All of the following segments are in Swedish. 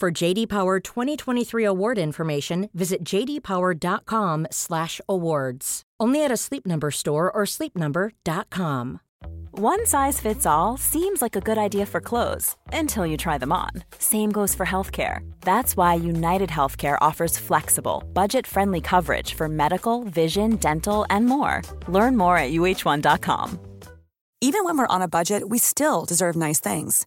For JD Power 2023 award information, visit jdpower.com/awards. Only at a Sleep Number store or sleepnumber.com. One size fits all seems like a good idea for clothes until you try them on. Same goes for healthcare. That's why United Healthcare offers flexible, budget friendly coverage for medical, vision, dental, and more. Learn more at uh1.com. Even when we're on a budget, we still deserve nice things.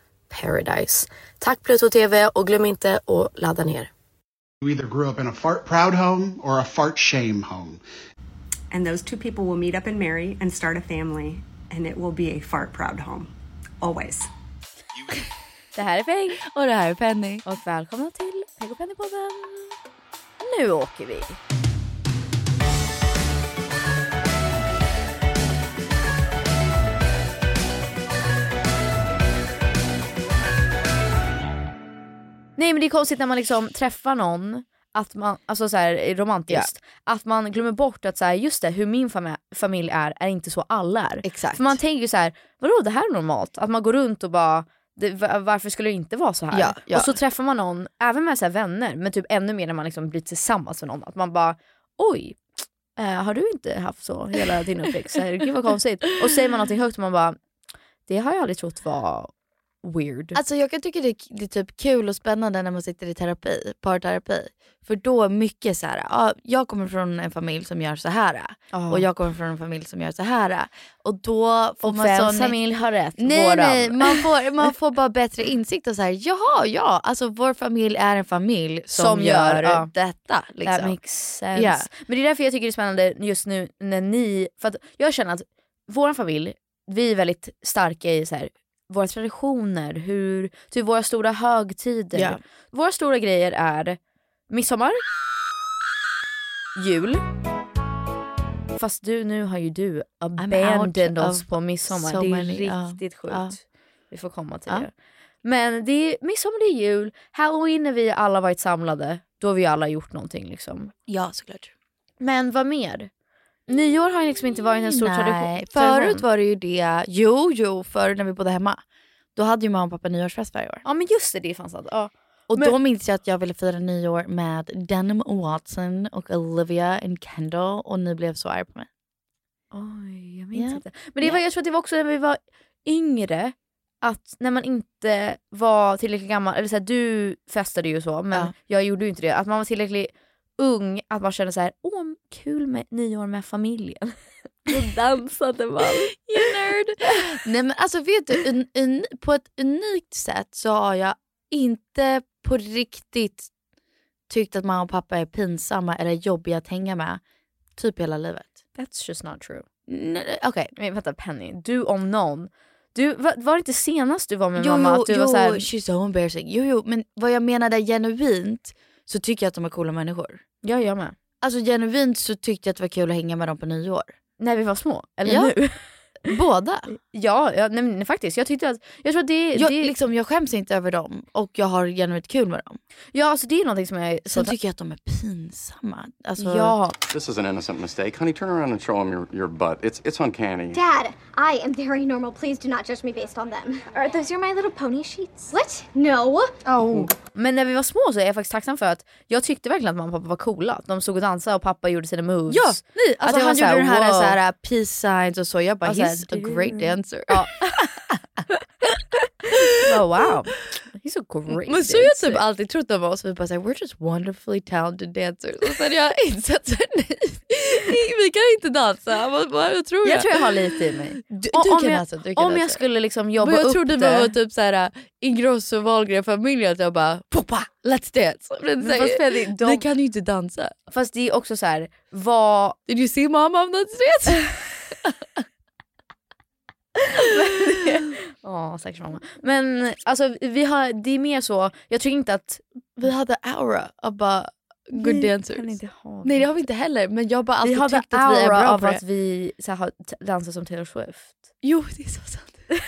paradise. Tack Pluto TV och glöm inte att ladda ner. You either grew up in a fart proud home or a fart shame home. and those two people will meet up and marry and start a family, and it will be a fart proud home. Always. Det här är Peng Och det här är Penny. och välkomna till Peg och Penny-podden. Nu åker vi. Nej men det är konstigt när man liksom träffar någon, att man, alltså så här, romantiskt, att man glömmer bort att så här, just det, hur min fami- familj är, är inte så alla är. Exakt. För man tänker ju så här, vadå det här är normalt? Att man går runt och bara, det, va- varför skulle det inte vara så här? Ja, ja. Och så träffar man någon, även med så här vänner, men typ ännu mer när man liksom blir tillsammans med någon, att man bara, oj, eh, har du inte haft så hela din uppväxt? Så här, Gud vad konstigt. Och säger man någonting högt och man bara, det har jag aldrig trott var weird. Alltså jag kan tycka det är, det är typ kul och spännande när man sitter i terapi, parterapi. För då är mycket så här, ah, jag kommer från en familj som gör så här Ja. och jag kommer från en familj som gör så här. Och då får och man vems sån... familj har rätt? Nej Våran. nej, man får, man får bara bättre insikt och så här, jaha ja, alltså vår familj är en familj som, Som gör, gör ja. detta. That Liksom. makes sense. Ja. Men det är därför jag tycker det är spännande just nu när ni, för att jag känner att vår familj, vi är väldigt starka i så här, våra traditioner, hur, typ våra stora högtider. Ja. Våra stora grejer är midsommar, jul, fast du, nu har ju du abandoned out oss of på midsommar. so det är many, ja, riktigt sjukt. ja. Vi får komma till Ja. det. Men det är midsommar, det är jul, halloween när vi alla varit samlade, då har vi alla gjort någonting liksom. Ja såklart. Men vad mer? Nyår har ju liksom inte varit en stor Nej, tradition. Förut tradition. var det ju det, jo jo, förut när vi bodde hemma. Då hade ju mamma och pappa nyårsfest varje år. alltså. Ja men just det, det är fan sant. Ja. Och då minns jag att jag ville fira nyår med Denim Watson och Olivia and Kendall och ni blev så arga på mig. Oj, jag minns inte. Men det var, jag tror att det var också när vi var yngre, att när man inte var tillräckligt gammal, eller så här, du festade ju så, men Ja. jag gjorde ju inte det. Att man var tillräckligt ung, att man kände så här, åh kul med nyår med familjen. Då dansade man. You nerd! Nej men alltså vet du, un, un, på ett unikt sätt så har jag inte på riktigt tyckt att mamma och pappa är pinsamma eller jobbiga att hänga med typ hela livet. That's just not true. Nej, Okej. Men vänta Penny, du om någon. Du, va- var det inte senast du var med Jo, mamma jo, att du jo var så här, she's so embarrassing. Jo, jo, men vad jag menade genuint så tycker jag att de är coola människor. ja jag med. Alltså genuint så tyckte jag att det var kul att hänga med dem på nyår. När vi var små? Eller Ja. nu? Båda. Ja, ja nej, men faktiskt. Jag tyckte att, jag tror att det, Jag, det, liksom, jag skäms inte över dem och jag har genuint kul med dem. ja, alltså, det är någonting som jag är så Sen tycker jag att de är pinsamma. Alltså, Ja, This is an innocent mistake. Honey, turn around and show him your, your butt. It's it's uncanny. Dad, I am very normal. Please do not judge me based on them. Are those your My Little Pony sheets? What? No. Oh. Men när vi var små så är jag faktiskt tacksam för att jag tyckte verkligen att mamma och pappa var coola. De stod och dansade och pappa gjorde sina moves. Ja, nej, Att alltså jag var han så här, gjorde den här, wow. så här peace signs och så. Jag bara, Och så här, he's a great dancer. Ja. oh, wow, he's a great Men så har jag typ dancer. alltid trott om oss. Vi bara såhär, we're just wonderfully talented dancers. Och sen har jag insett att nej, vi kan inte dansa. Vad, vad, vad tror jag? Jag tror jag har lite i mig. Du, Och du om kan jag, dansa, du om kan dansa. jag skulle liksom jobba Men jag upp trodde vi det. var typ såhär Ingrosso Wahlgren familjen att jag bara poppa, let's dance. Men Men så här, fast Freddy, Vi de- kan ju inte dansa. Fast det är också så här, vad... Did you see mama on that street? Ja, stackars mamma. Men alltså, vi har, det är mer så, jag tycker inte att... vi hade aura av bara good Vi dancers. kan inte ha Nej det har vi inte heller men jag har bara Vi alltid hade tyckt att vi är aura bra av på det. att vi så här, har t- dansar som Taylor Swift. Jo det är så sant.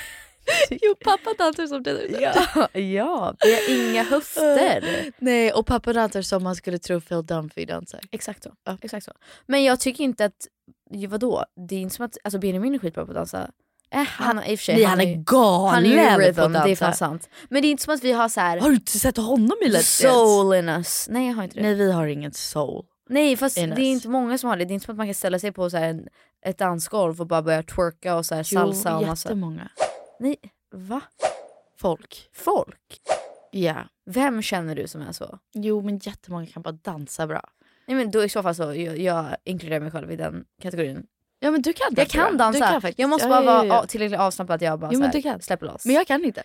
jo pappa dansar som Taylor Swift. Ja, ja, vi har inga höfter. Nej och pappa dansar som man skulle tro Phil Dunphy dansar. Exakt så. Exakt så. Men jag tycker inte att, ju vadå? Det är inte som att, alltså Benjamin är skitbra på att dansa. Eh, han, i och för sig, Nej, han är ju- galen Han är ju rhythm, på att det är fan dansa. sant. Men det är inte som att vi har så här Har du inte sett honom i Let's Dance? soul in us. Nej jag har inte det. Nej vi har inget soul. Nej fast in det är us. inte många som har det. Det är inte som att man kan ställa sig på så här en, ett dansgolv och bara börja twerka och så här salsa och jo, massa. jättemånga. Nej, va? Folk. Folk? Ja. Vem känner du som är så? Jo men jättemånga kan bara dansa bra. Nej men då i så fall så, jag, jag inkluderar mig själv i den kategorin. Ja men du kan dansa. Jag kan bra. Du dansa, kan faktiskt. jag måste Ja, bara ja, vara ja, ja. a- tillräckligt avslappnad att jag bara Jo, så men här du kan. släpper loss. Men jag kan inte.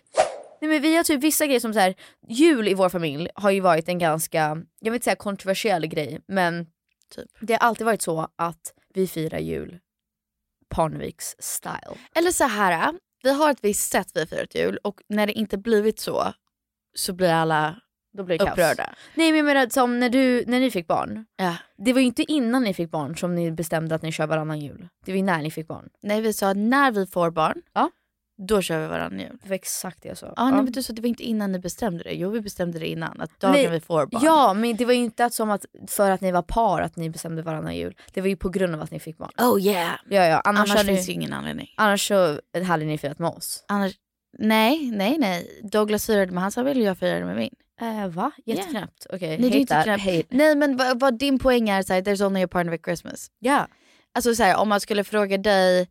Nej, men vi har typ vissa grejer som så här, jul i vår familj har ju varit en ganska, jag vill inte säga kontroversiell grej men Typ. det har alltid varit så att vi firar jul Parneviks style. Eller så här, vi har ett visst sätt vi firar ett jul och när det inte blivit så så blir alla Då blir det kaos. upprörda. Nej men jag menar som när, du, när ni fick barn, Ja. det var ju inte innan ni fick barn som ni bestämde att ni kör varannan jul. Det var ju när ni fick barn. Nej vi sa att när vi får barn, Ja. då kör vi varannan jul. Det var exakt det jag sa. Ja, Nej, men du sa att det var inte innan ni bestämde det. Jo vi bestämde det innan, att dagen Nej. vi får barn. Ja, men det var ju inte att som att för att ni var par att ni bestämde varannan jul. Det var ju på grund av att ni fick barn. Oh yeah. Ja, ja. Annars, Annars, hade finns ju ni, ingen anledning. annars så hade ni firat med oss. Annars, nej, nej, nej. Douglas firade med hans familj och jag firade med min. Eh, va? Jätteknäppt. Okej, Nej, det är hate inte that. knäppt. Hate. Nej men vad, vad din poäng är, så här, there's only a part of Christmas. Ja. Alltså så här, om man skulle fråga dig,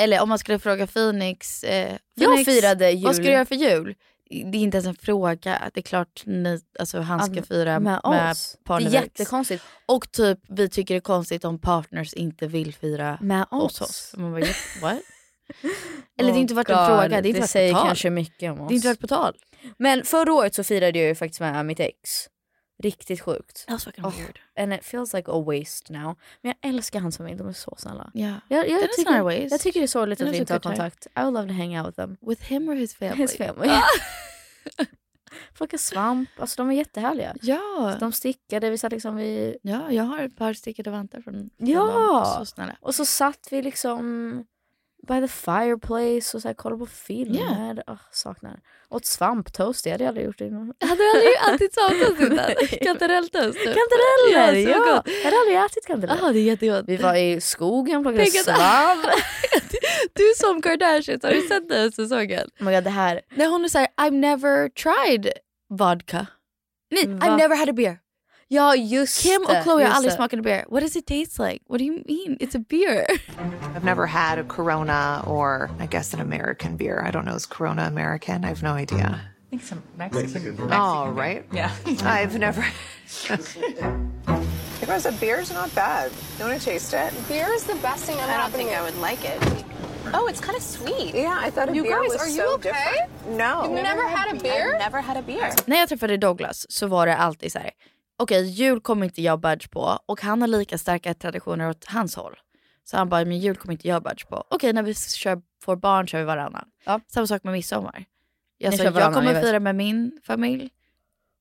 eller om man skulle fråga Phoenix. Eh, Jag Phoenix, firade jul. Vad ska du göra för jul? Det är inte ens en fråga. Det är klart ni, alltså, han ska Att- fira med med, oss. Det är Parneviks. jättekonstigt. Och typ vi tycker det är konstigt om partners inte vill fira Med hos oss. Oh oss. Man bara, what? eller det är inte varit en God, fråga, det är inte det varit på säger tal. kanske mycket om Det oss. har inte varit på tal. Men förra året så firade jag ju faktiskt med mitt ex. Riktigt sjukt. That was fucking Åh, weird. And it feels like a waste now. Men jag älskar hans familj, de är så snälla. Yeah. Jag, That jag, is not a tycker, waste. jag tycker det är sorgligt That att vi is a inte har good time. kontakt. I would love to hang out with them. typ With him or his family? Ah. His family. Plocka svamp, alltså de är jättehärliga. Ja. De stickade, vi satt liksom vid... ja, jag har ett par stickade vantar från från Ja. dem. Så snälla. Och så satt vi liksom by the fireplace och så här kollade på filmer. Åh, saknar. Åt svamptoast, det hade jag aldrig gjort innan. Hade du aldrig alltid saknat Nej. utan kantarelltoast? typ? Kantareller! Ja, så Ja, gott. jag hade aldrig ätit kantareller. Ja, det är jättegott. Vi var i skogen och plockade Tänk att- svamp. Du är som Kardashians, har du sett den här säsongen? Oh my God, det här. När hon är såhär, I've never tried vodka. Nej, Va? I've never had a beer. Ja just Kim det, och Chloe har just aldrig det. smakat en beer. What does it taste like? What do you mean? It's a beer. I've never had a Corona or I guess an American beer. I don't know. Is Corona American? I have no idea. I think some All right. Yeah. I've never. Oh Rosa, beer's not bad. You want to taste it? Beer is the best thing I'm I don't think I would like it. Oh, it's kind of sweet. Yeah, I thought a you beer guys, was are you so okay? different. No. You've never, had, a beer? I've never had a beer. När jag träffade Douglas så var det alltid så här. Okej, jul kommer inte jag budge på och han har lika starka traditioner åt hans håll. Så han bara, men jul kommer inte jag budge på. Okej, när vi kör, får barn kör vi varannan. Samma sak med midsommar. Jag, Ni sa, kör jag varannan, kommer jag vet. fira med min familj,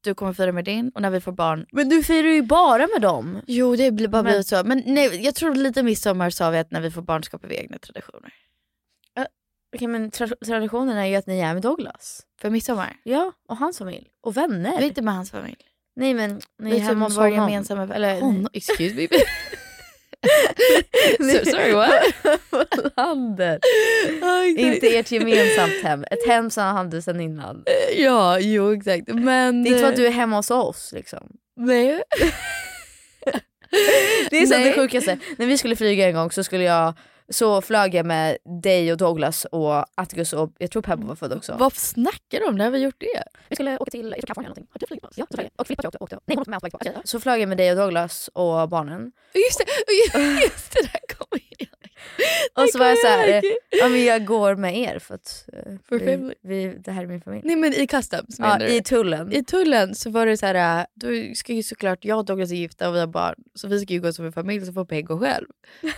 du kommer fira med din och när vi får barn Men du firar ju bara med dem. Jo det blir bara Men- blivit så. Men nej, jag tror lite midsommar sa vi att när vi får barn skapar vi egna traditioner. Okej men tra- traditionen är ju att ni är med Douglas. För midsommar? Ja, och hans familj. Och vänner. Vi är inte med hans familj. Nej men Vi ni är är typ hemma hos vår honom. gemensamma... Eller, Honom? Excuse me. Ni- so, sorry what? Vad händer? inte ert gemensamt hem. Ett hem som han hade sedan innan. Eh, Ja, jo exakt. Men... eh, Det är inte så att du är hemma hos oss liksom. Nej. Det är så Nej. det sjukaste. När vi skulle flyga en gång så skulle jag så flög jag med dig och Douglas och Atticus och jag tror Pebble var född också. Vad snackar du om? När har vi gjort det? Vi skulle åka till, jag tror Kalifornien någonting. Har du flugit med oss? Ja, så flög jag. Och Filippa tror jag åkte. åkte. Nej, hon åkte med oss på väg tillbaka. Så flög jag med dig och Douglas och barnen. Just det, just det där kommer jag Och så var jag så kommer här, jag ihåg. ja men jag går med er för att eh, För vi, family. vi, det här är min familj. Nej men i customs Ja, menar du? i tullen. I tullen så var det så här, äh, då ska ju såklart, jag och Douglas är gifta och vi har barn, så vi ska ju gå som en familj så får Peg gå själv.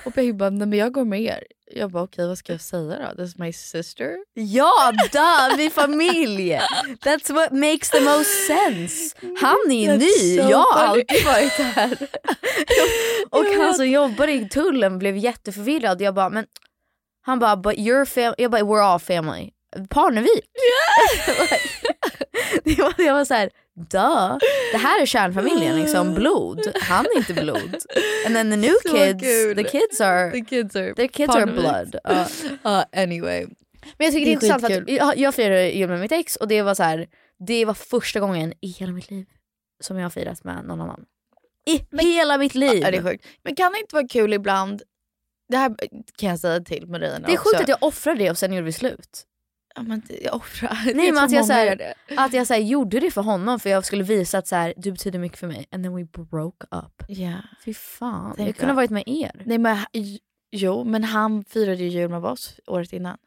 Och Peg bara, nej men jag går med er. Jag bara, okej vad ska jag säga då? This is my sister. Ja, där, vi är familj! That's what makes the most sense. Han är ju That's ny, so jag har funny. alltid varit här. Och han som jobbar i tullen blev jätteförvirrad. Jag bara, men han bara, but you're fam-. jag bara, we're all family. Parnevik. Like, det var- jag var så här, duh. Det här är kärnfamiljen, liksom blod. Han är inte blod. And then the new Så kids, kul. the kids are, The kids are, their kids are Parnevik. blood. Ja. Ja, anyway. Men jag tycker det är Det är intressant för att skitkul. jag, jag firade jul med mitt ex och det var så här, det var första gången i hela mitt liv som jag har firat med någon annan. I hela mitt liv. Ja, det är sjukt. Men kan det inte vara kul ibland, det här kan jag säga till Marina Det är sjukt också. att jag offrade det och sen gjorde vi slut. Ja, men det- jag offrar. Nej men att jag, så många gör här, det. att jag så här, gjorde det för honom för jag skulle visa att så här, du betyder mycket för mig. And then we broke up. Ja. Fy fan. Tänk jag kunde att- ha varit med er. Nej, men, j- jo, men han firade ju jul med oss året innan.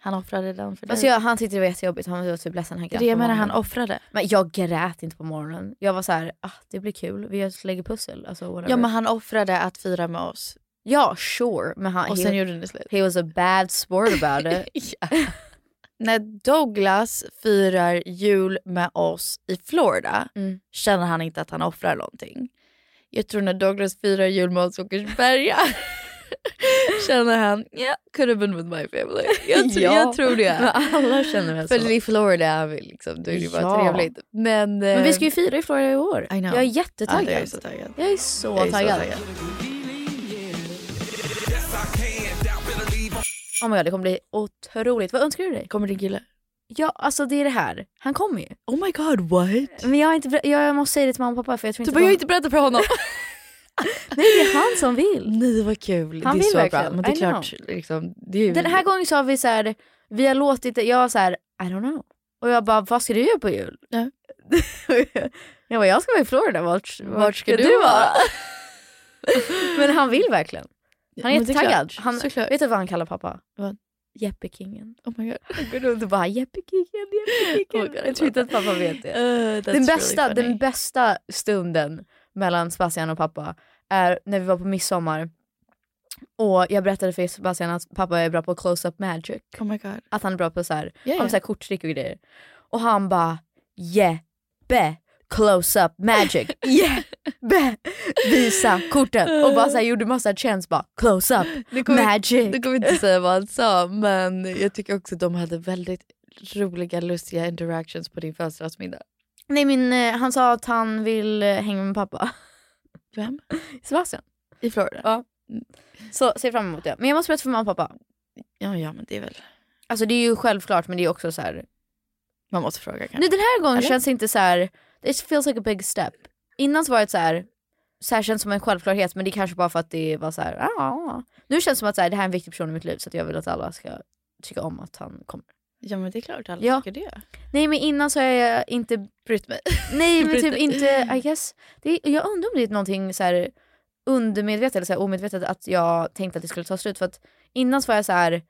Han offrade den för dig. Alltså jag, han tyckte det var jättejobbigt, han var typ ledsen. Han det är grät det jag på menar, han morgonen. offrade. Men jag grät inte på morgonen. Jag var så här, ah, det blir kul, vi lägger pussel. Alltså, whatever. Ja, men han offrade att fira med oss. Ja, sure. Men han, Och he- sen gjorde ni slut. He was a bad sport about it. När Douglas firar jul med oss i Florida Mm. känner han inte att han offrar någonting. Jag tror när Douglas firar jul med oss i Åkersberga känner han, yeah, could have been with my family. Jag, tror- Ja. jag tror det. Men alla känner väl För så. det är Florida han vill liksom, då är det ju bara Ja. trevligt. Men, eh, Men vi ska ju fira i Florida i år. I know. Jag är jättetaggad. Ja, jag är så taggad. Jag är så Jag är så taggad. taggad. Oh my god, det kommer bli otroligt. Vad önskar du dig? Kommer din kille? Ja, alltså det är det här. Han kommer ju. Oh my god, what? Men jag, har inte, ber- jag måste säga det till mamma och pappa för jag tror Du inte... bara, de- jag har inte berättat för honom. Nej, det är han som vill. Nej vad kul, Han det är vill så bra. verkligen. Men det är I klart, liksom, det är ju... Den här gången så har vi så här, vi har låtit det, jag var så här, I don't know. Och jag bara, vad ska du göra på jul? Ja. jag bara, jag ska vara i Florida, vart, vart, ska, du, vara? Men han vill verkligen. Han är Men det är klart. jättetaggad. Han, Såklart. vet du vad han kallar pappa? Vad? Jeppekingen. Oh my god. Han går runt och bara Jeppekingen, Jeppekingen. Oh god, jag tror inte att pappa vet det. Uh, that's den, bästa, really funny. den bästa stunden mellan Sebastian och pappa är när vi var på midsommar och jag berättade för Sebastian att pappa är bra på close-up magic. Oh my god. Att han är bra på så här, Ja, han ja. så här korttrick och grejer. Och han bara Jeppe close-up magic. Jeppe visa korten. Och bara så här, gjorde massa chans bara close-up Det kommer- magic. Nu kommer jag inte säga vad han sa men jag tycker också att de hade väldigt roliga lustiga interactions på din födelsedagsmiddag. Nej men eh, han sa att han vill eh, hänga med pappa. Vem? Sebastian. I Florida? Ja. Så ser fram emot det. Men jag måste berätta för mamma och pappa. Ja, ja men det är väl... Alltså det är ju självklart men det är också så här. Man måste fråga kanske. Nej den här gången Eller? känns det inte så här. it feels like a big step. Innan så var det så här, så här känns som en självklarhet men det är kanske bara för att det var så här, ah, ah. Nu känns det som att så här, det här är en viktig person i mitt liv så att jag vill att alla ska tycka om att han kommer. Ja men det är klart alla Ja. tycker det. Nej men innan så har jag inte brytt mig. Nej men Brytt typ dig. inte, I guess. Det är, jag undrar om det är någonting så här undermedvetet eller så här omedvetet att jag tänkte att det skulle ta slut för att innan så var jag så här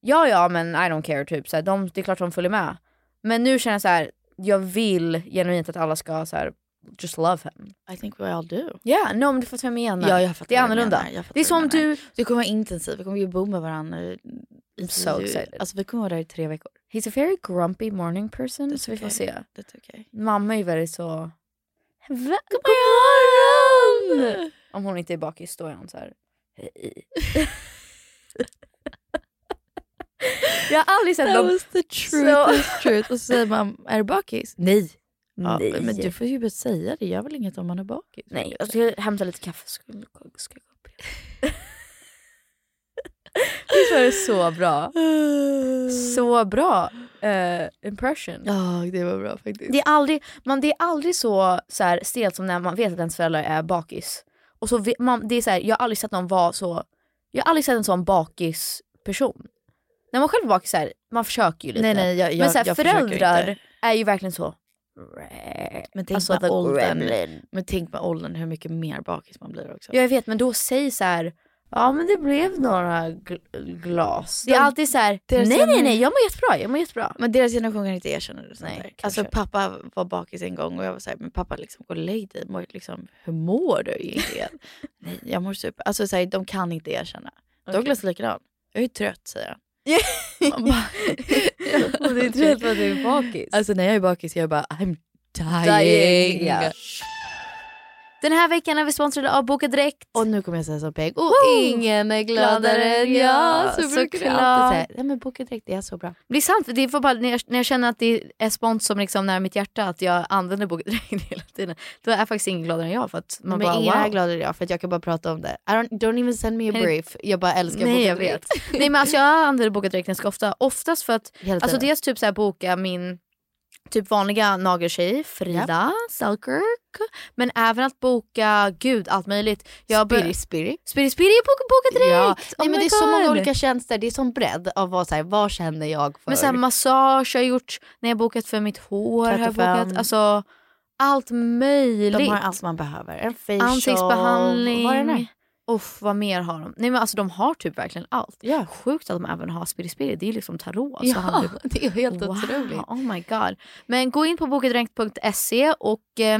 ja ja men I don't care typ så här, de, det är klart de följer med. Men nu känner jag så här jag vill genuint att alla ska så här just love him. I think we all do. Ja, no, men du fattar vad jag menar. Ja, jag fattar det är vad du annorlunda. menar. Jag fattar Det är vad som du du... Det kommer vara intensivt, vi kommer ju bo med varandra. i- i- so excited. Alltså vi kommer vara där i tre veckor. He's a very grumpy morning person så vi får se. Det tycker jag. Mamma är ju väldigt så... Va? God morgon! Om hon inte är bakis då är hon så här... "Hej." jag har aldrig sett That dem... was the truth, Så- is truth. Och så säger man, är du bakis? Nej. Ja, Nej. Men du får ju bara säga det, gör väl inget om man är bakis? Nej, alltså, jag ska hämta lite kaffe. Ska, ska jag gå upp igen? Visst var det så bra? Så bra eh, impression. Ja, det var bra faktiskt. Det är aldrig, man, det är aldrig så, så här, stelt som när man vet att ens föräldrar är bakis. Och så, vet man, det är så här, jag har aldrig sett någon vara så... Jag har aldrig sett en sån bakis person. När man själv är bakis, så här, man försöker ju lite. Nej, nej, jag- Men jag- så här, jag försöker föräldrar inte. är ju verkligen så... Men tänk Alltså, med the åldern. gremlin. Men tänk med åldern hur mycket mer bakis man blir också. Ja, jag vet, men då säger så här... Ja, men det blev några gl- glas. Det är De- alltid så här... deras Nej, nej, gener- nej, jag mår jättebra. Jag mår jättebra. Men deras generation kan inte erkänna det. Nej, Nej, kanske. alltså pappa var bakis en gång och jag var såhär, men pappa liksom gå och lägg dig. Mår- Liksom, hur mår du egentligen? Nej, jag mår super. Alltså såhär, de kan inte erkänna. Douglas är likadan. Jag är trött säger han. Man bara- Och det är trött för att du är bakis. Alltså när jag är bakis jag bara I'm dying. Dying, ja. Den här veckan är vi sponsrade av Boka Direkt. Och nu kommer jag säga som Peg. Och Woo! ingen är gladare än jag. Så brukar jag alltid säga. Nej men Boka Direkt det är så bra. Det är sant, för det är bara när jag, när jag känner att det är spons som liksom nära mitt hjärta att jag använder bokdräkten hela tiden. Då är faktiskt ingen gladare än jag för att man men bara ingen är wow. gladare än jag för att jag kan bara prata om det. I don't, don't even send me a Henrik- brief. Jag bara älskar Nej Boka jag vet. Direkt. Nej men alltså jag använder bokdräkten ganska ofta. Oftast för att, Hela alltså tiden. dels typ så här boka min typ vanliga nageltjej Frida Selkirk. Men även att boka gud allt möjligt. Jag bör- Spirit, spirit. Spirit Spirit är boka, boka Ja. direkt! Nej, Oh men my det är så många God. olika tjänster, det är sån bredd av vad, så här, vad känner jag för. Men sen massage har jag gjort när jag bokat för mitt hår. Har jag 35. bokat, alltså, allt möjligt. de har allt man behöver. En facial, Ansiktsbehandling. Vad är det nu? Uff, vad mer har de? Nej men alltså de har typ verkligen allt. Ja. Sjukt att de även har spirispiri, det är ju liksom tarot. så Ja, handlar det- det är helt Wow, otroligt. oh my god. Men gå in på bokedränkt.se och eh,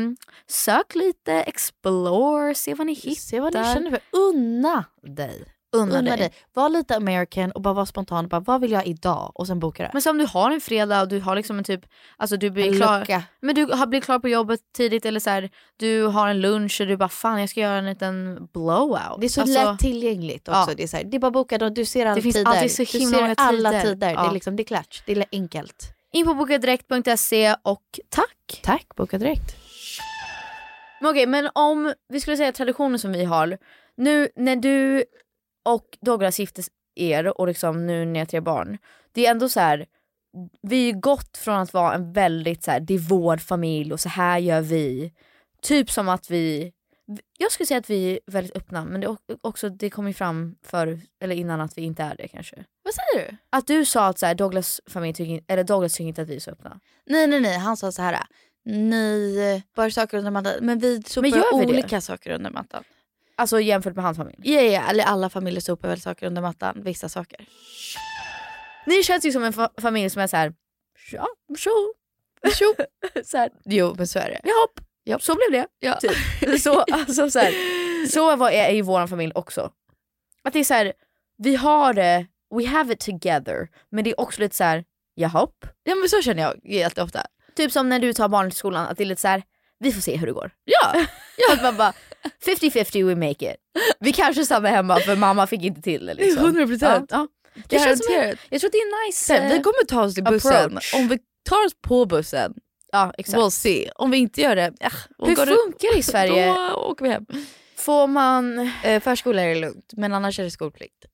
sök lite, explore, se vad ni hittar. Se vad ni känner för. Unna dig. Unna dig. Var lite American och bara var spontan. Bara, vad vill jag idag? Och sen boka det. Men så om du har en fredag och du har liksom en typ, alltså du blir En klar, lucka. men du har, blir klar på jobbet tidigt eller så här, du har en lunch och du bara fan jag ska göra en liten blowout. det är så Alltså, lättillgängligt också. ja. Det, är så här, det är bara boka då. Du ser alla finns tider. alltid så du himla många ser alla tider. tider. Det, Ja. är liksom, det är klart. Det är enkelt. In på bokadirekt.se och tack. Tack, boka direkt. Men okej, men om vi skulle säga traditionen som vi har. Nu när du och Douglas gifte er och liksom nu när ni har tre barn. Det är ändå så här. Vi har ju gått från att vara en väldigt så här, det är vår familj och så här gör vi. Typ som att vi, jag skulle säga att vi är väldigt öppna men det, är också, det kom ju fram för, eller innan att vi inte är det kanske. Vad säger du? Att du sa att så här, Douglas familj tycker, eller Douglas tycker inte att vi är så öppna. Nej, nej, nej. Han sa så här. Ni bara saker under mattan. Men vi sopar gör vi det? olika saker under mattan. Alltså jämfört med hans familj. Ja, ja, eller alla familjer sopar väl saker under mattan. Vissa saker. Ni känns ju som en fa- familj som är så här. Ja, tjo. Tjo. så här, Jo, men så är det. ja, hopp. Ja, så blev det. Ja. Typ. Så, alltså, så, här, så var, är ju vår familj också. Att det är så här, vi har det, we have it together. Men det är också lite så här, ja, hopp. Ja, men så känner jag jätteofta. Typ som när du tar barnen till skolan, att det är lite så här, vi får se hur det går. Ja, Att man bara, 50-50 we make it. Vi kanske stannar hemma för mamma fick inte till det. Liksom. 100%. Ja, ja. Det känns som en, Garanterat. jag tror att det är en nice. Sen, eh, vi kommer ta oss till bussen. approach. Om vi tar oss på bussen, ja, exakt. we'll see. Om vi inte gör det, äh, och Hur går det- funkar det i Sverige? Då åker vi hem. Får man... Eh, förskola är det lugnt, men annars är det skolplikt.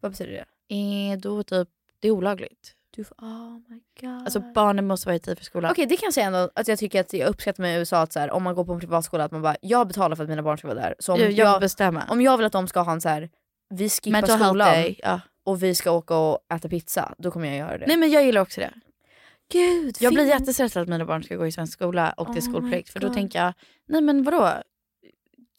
Vad betyder det? Eh, då typ, det är olagligt. Du får, oh my god. Alltså, Alltså barnen måste vara i tid för skolan. Okej det kan jag säga ändå att jag tycker att jag uppskattar med USA att så här, om man går på en privatskola att man bara jag betalar för att mina barn ska vara där. Så om Jag- jag får bestämma. Om jag vill att de ska ha en så här vi skippar Mental health skolan day, och vi ska åka och äta pizza, då kommer jag göra det. Nej men jag gillar också det. Gud, jag blir fin- jättestressad att mina barn ska gå i svensk skola och det är Oh my skolplikt. För då God. tänker jag, nej men vadå?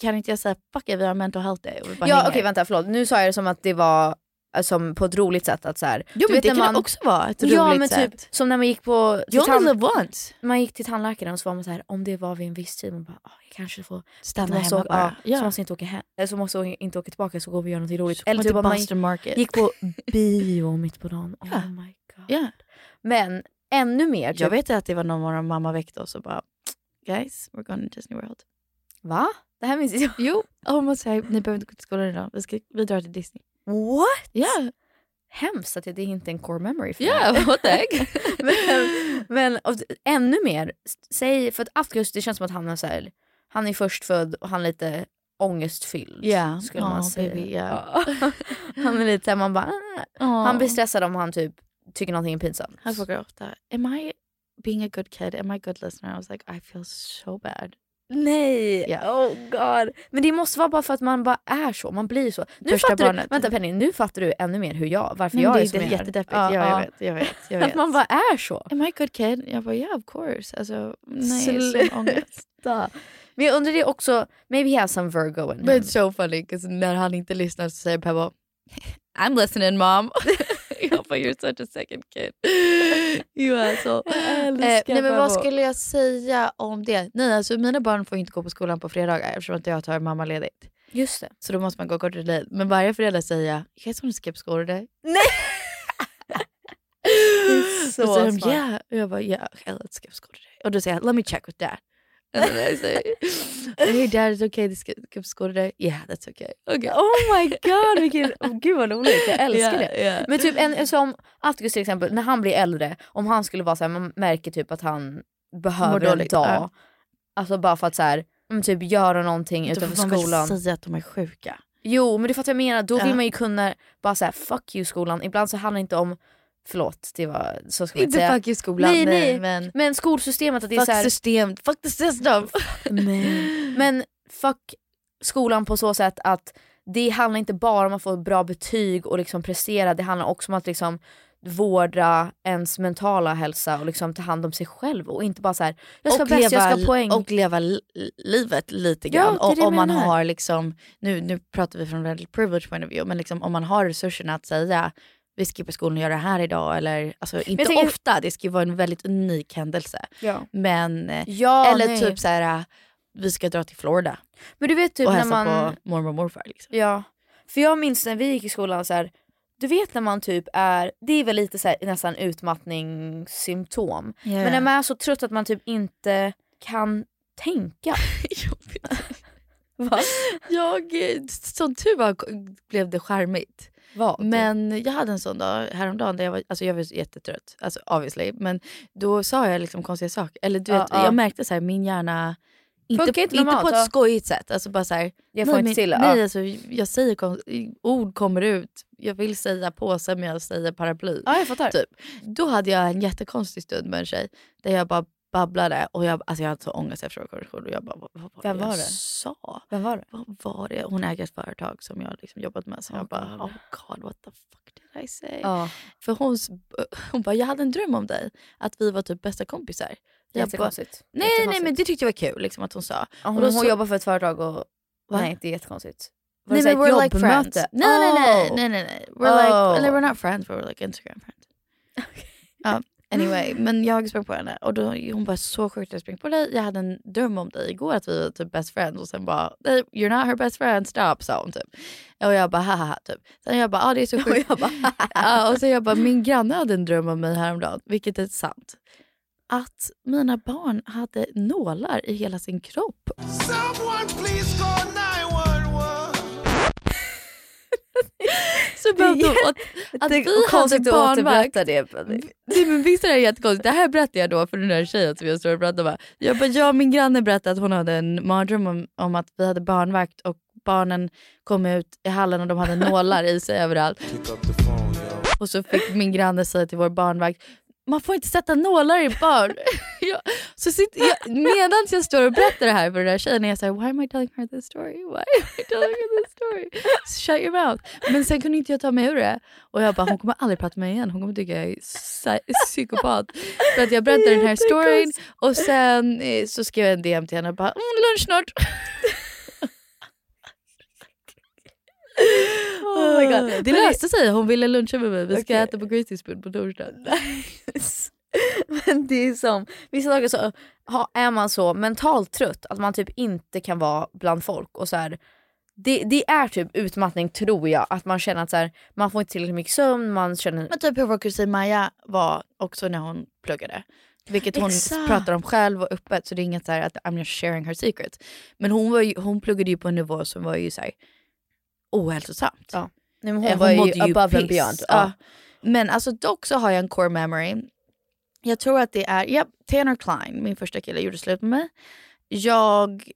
Kan inte jag säga fuck it, vi har mental health day och vi bara Ja hänger. okej vänta förlåt, nu sa jag det som att det var eh, som på ett roligt sätt att så här, Jo, men det när kan också vara ett Ja roligt men typ sätt. som när man gick på till You only tand- live once. Man gick till tandläkaren och så var man så här om det var vid en viss tid man bara "Ah, jag kanske får Stanna inte måste hemma åka- bara." Ja, Ja. Så måste jag inte åka hem, eh, så måste jag inte åka tillbaka så går vi och gör någonting roligt. Så går man till att man Boston Market. gick på bio mitt på dagen. Oh my god. Men ännu mer. typ- Jag vet att det var någon morgon mamma väckte oss och bara guys, we're going to Disney World. Va? Det här minns jag. Jo, hon bara säger ni behöver inte gå till skolan idag, vi, ska, vi drar till Disney. What? Ja. Hemskt att det det är inte är en core memory för Ja, mig. what the men men och, ännu mer, s- säg, för att Atkus det känns som att han är så här, han är förstfödd och han är lite ångestfylld. Ja. Skulle Ja, man säga. Oh, baby, ja. Ja. han är lite såhär, man bara, ah. Ja. han blir stressad om han typ tycker någonting är pinsamt. Han frågar ofta, am I being a good kid? Am I a good listener? I was like, I feel so bad. Nej, Ja. oh god. Men det måste vara bara för att man bara är så, man blir så. Nu Första fattar barnet. du, vänta Penny, nu fattar du ännu mer hur jag, varför Nej, men jag det är är som det- jag är. jättedeppigt. Ja, jag vet, jag vet, jag Att vet. man bara är så. Am I a good kid? Jag bara, yeah of course. Alltså, nej, sån ångest. Sluta. Men jag undrar det också, maybe he has some Virgo in But him. it's so funny, 'cause när han inte lyssnar så säger Pebble I'm listening mom. jag bara you're such a second kid. You asshole. Eh, nej, men vad skulle jag säga om det? Nej, alltså mina barn får inte gå på skolan på fredagar eftersom att jag tar mammaledigt. Just det. Så då måste man gå kortare tid. Men varje fredag säger jag, you guys wanna skip school today? så och så är de, smart. yeah. Och jag bara, yeah, okay, let's skip school today. Och då säger jag, let me check with dad. And then I say, hey dad, it's okay to skip skip school today? Yeah, that's okay. Okay. Oh my god, vilken, oh, gud vad roligt. Jag älskar Ja, det. ja. Men typ en, som Atticus till exempel, när han blir äldre, om han skulle vara så här, man märker typ att han behöver en dag. dåligt, ja. Alltså bara för att så här, men typ göra någonting Då utanför får man väl skolan. säga att de är sjuka. Jo men du fattar vad jag menar, då vill Ja. man ju kunna bara säga fuck you skolan. Ibland så handlar det inte om, förlåt det var, så ska man Inte säga. fuck you skolan, nej, nej, nej. men- men skolsystemet att det är Fuck så här, system, fuck the system. Men, men fuck skolan på så sätt att det handlar inte bara om att få bra betyg och liksom prestera, det handlar också om att liksom vårda ens mentala hälsa och liksom ta hand om sig själv och inte bara så här, jag ska och, vara bäst, jag leva, ska ha poäng. och leva li- livet lite Ja, grann. det är det och, jag om man menar. har liksom, nu, nu pratar vi från väldigt privilege point of view, men liksom, om man har resurserna att säga vi skippar skolan och gör det här idag. Eller, alltså, inte tänker- ofta, det ska ju vara en väldigt unik händelse. Ja. Men, eh, Ja, eller nej. typ så här, vi ska dra till Florida men du vet typ och när hälsa man, på mormor och morfar. Liksom. ja, för jag minns när vi gick i skolan så här, du vet när man typ är, det är väl lite så här, nästan utmattningssymptom, Ja, men ja. när man är så trött att man typ inte kan tänka. Va? Jag, eh, som tur var k- blev det skärmigt. Vad? Men jag hade en sån dag häromdagen där jag var, alltså jag var jättetrött, alltså obviously. Men då sa jag liksom konstiga saker. Eller du Ja, vet, ja. jag märkte så här, min hjärna, inte, Funkar inte inte normalt, på ett ja. skojigt sätt. Alltså bara så här, Jag får nej, inte men- till det, Nej, ja. alltså, jag säger kon- ord kommer ut. Jag vill säga påse men jag säger paraply. Ja, jag fattar. Typ. Då hade jag en jättekonstig stund med en tjej där jag bara babblade och jag, alltså jag hade så ångest efter vår konversation och jag bara, vad, vad var Vem det jag var det? sa? Vem var det? Vad var det? Hon äger ett företag som jag liksom jobbat med. Så jag bara, oh god what the fuck did I say? Ja. För hon, s- hon bara, jag hade en dröm om dig. Att vi var typ bästa kompisar. Jag Jättekonstigt. Bara, nej, nej Jättekonstigt. men det tyckte jag var kul liksom, att hon sa. Ja, Och hon, då hon så- jobbar för ett företag och... Va? Nej, det är jättekonstigt. Var Nej det men så här we're ett like friends. jobbmöte? Nej nej nej Oh. nej nej nej. We're like, Oh. eller we're not friends but we're like Instagram friends. Ja, anyway, men jag sprang på henne och då, hon bara så sjukt att jag sprang på dig. Jag hade en dröm om dig igår att vi var typ best friends och sen bara "Nej, you're not her best friend, stop sa hon typ. Och jag bara haha typ. Sen jag bara ah det är så sjukt. Och, jag ja, och sen jag bara min granne hade en dröm om mig häromdagen, vilket är sant. Att mina barn hade nålar i hela sin kropp. Someone please call 911. Så bara Det är då, att, att vi hade konstigt att barnvakt. återberätta det. Penny. Nej, men visst är det här jättekonstigt? Det här berättade jag då för den här tjejen som jag står och pratar med. Jag bara, ja min granne berättade att hon hade en mardröm om, om att vi hade barnvakt och barnen kom ut i hallen och de hade nålar i sig överallt. Pick up the phone, yo. Och så fick min granne säga till vår barnvakt, man får inte sätta nålar i barn. jag, så sitt, jag, medan jag står och berättar det här för den där tjejen, är jag såhär, why am I telling her this story? Why am I telling her this story? Shut your mouth. Men sen kunde inte jag ta mig ur det. Och jag bara, hon kommer aldrig prata med mig igen. Hon kommer tycka jag är psy- psykopat. För att jag berättade den här storyn och sen eh, så skrev jag en DM till henne och bara, mm, lunch snart. Oh my God. Det Men det- löste sig. Hon ville luncha med mig. Vi ska Okej. äta på Greasy Spoon på torsdag. Men det är som, vissa dagar så ha, är man så mentalt trött att man typ inte kan vara bland folk. Och så här, det, det är typ utmattning tror jag, att man känner att så här, man får inte tillräckligt mycket sömn, man känner... Men typ hur vår kusin Maja var också när hon pluggade. Vilket hon Exakt. pratar om själv och öppet så det är inget så här att I'm just sharing her secret. Men hon, var ju, hon pluggade ju på en nivå som var ju så här ohälsosamt. Eh, Ja. Nej, men hon var ju above and beyond. Ja. Men alltså dock så har jag en core memory. Jag tror att det är, ja, Tanner Klein, min första kille, gjorde slut med mig. Jag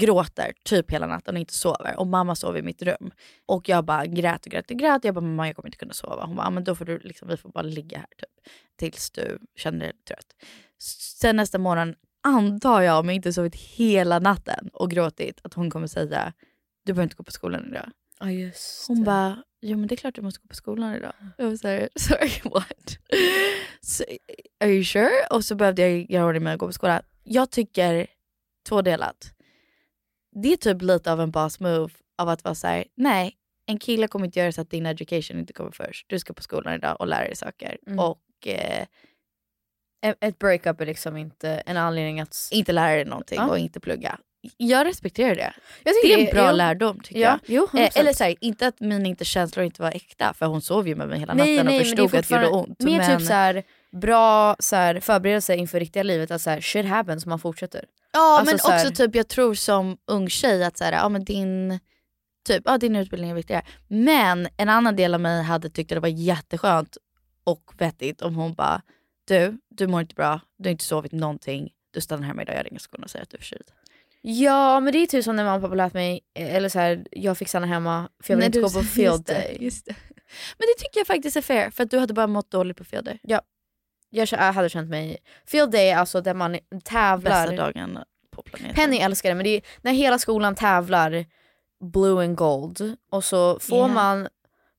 gråter typ hela natten och inte sover och mamma sover i mitt rum. Och jag bara grät och grät och grät. Jag bara mamma jag kommer inte kunna sova. Hon bara "Ah, men då får du liksom, vi får bara ligga här typ tills du känner dig trött. Sen nästa morgon antar jag om jag inte sovit hela natten och gråtit att hon kommer säga du behöver inte gå på skolan idag. Ja, just Hon bara, jo men det är klart du måste gå på skolan idag. Jag var såhär, sorry what? Så, are you sure? Och så behövde jag göra ordning med att gå på skolan. Jag tycker tvådelat. Det är typ lite av en boss move av att vara såhär, nej en kille kommer inte göra så att din education inte kommer först. Du ska på skolan idag och lära dig saker. Mm. Och eh, Ett- Ett breakup är liksom inte en anledning att... inte lära dig någonting Ja. och inte plugga. Jag respekterar det. Jag tycker det är en det- bra jo. lärdom tycker Ja, jag. jo, Eh, 100%. Eller så här, inte att mina inte känslor inte var äkta för hon sov ju med mig hela natten och är förstod att det gjorde fortfarande ont. Mer men- typ så här, bra så här, förberedelse inför riktiga livet, att så här, shit happens, man fortsätter. Ja Alltså men så här- också typ jag tror som ung tjej att så här, ja, men din, typ, ja, din utbildning är viktigare. Men en annan del av mig hade tyckt att det var jätteskönt och vettigt om hon bara, du, du mår inte bra, du har inte sovit någonting, du stannar hemma idag, jag ringer skolan och säger att du är förkyld. Ja men det är typ som när mamma och pappa lät mig, eh, eller så här, jag fick stanna hemma för jag vill Nej, inte du- gå på just field det, day. just det. Men det tycker jag faktiskt är fair, för att du hade bara mått dåligt på field day. Ja. Jag kä- jag hade känt mig, field day är alltså där man tävlar. Bästa dagen på planeten. Penny älskar det men det är när hela skolan tävlar blue and gold och så får Yeah. man,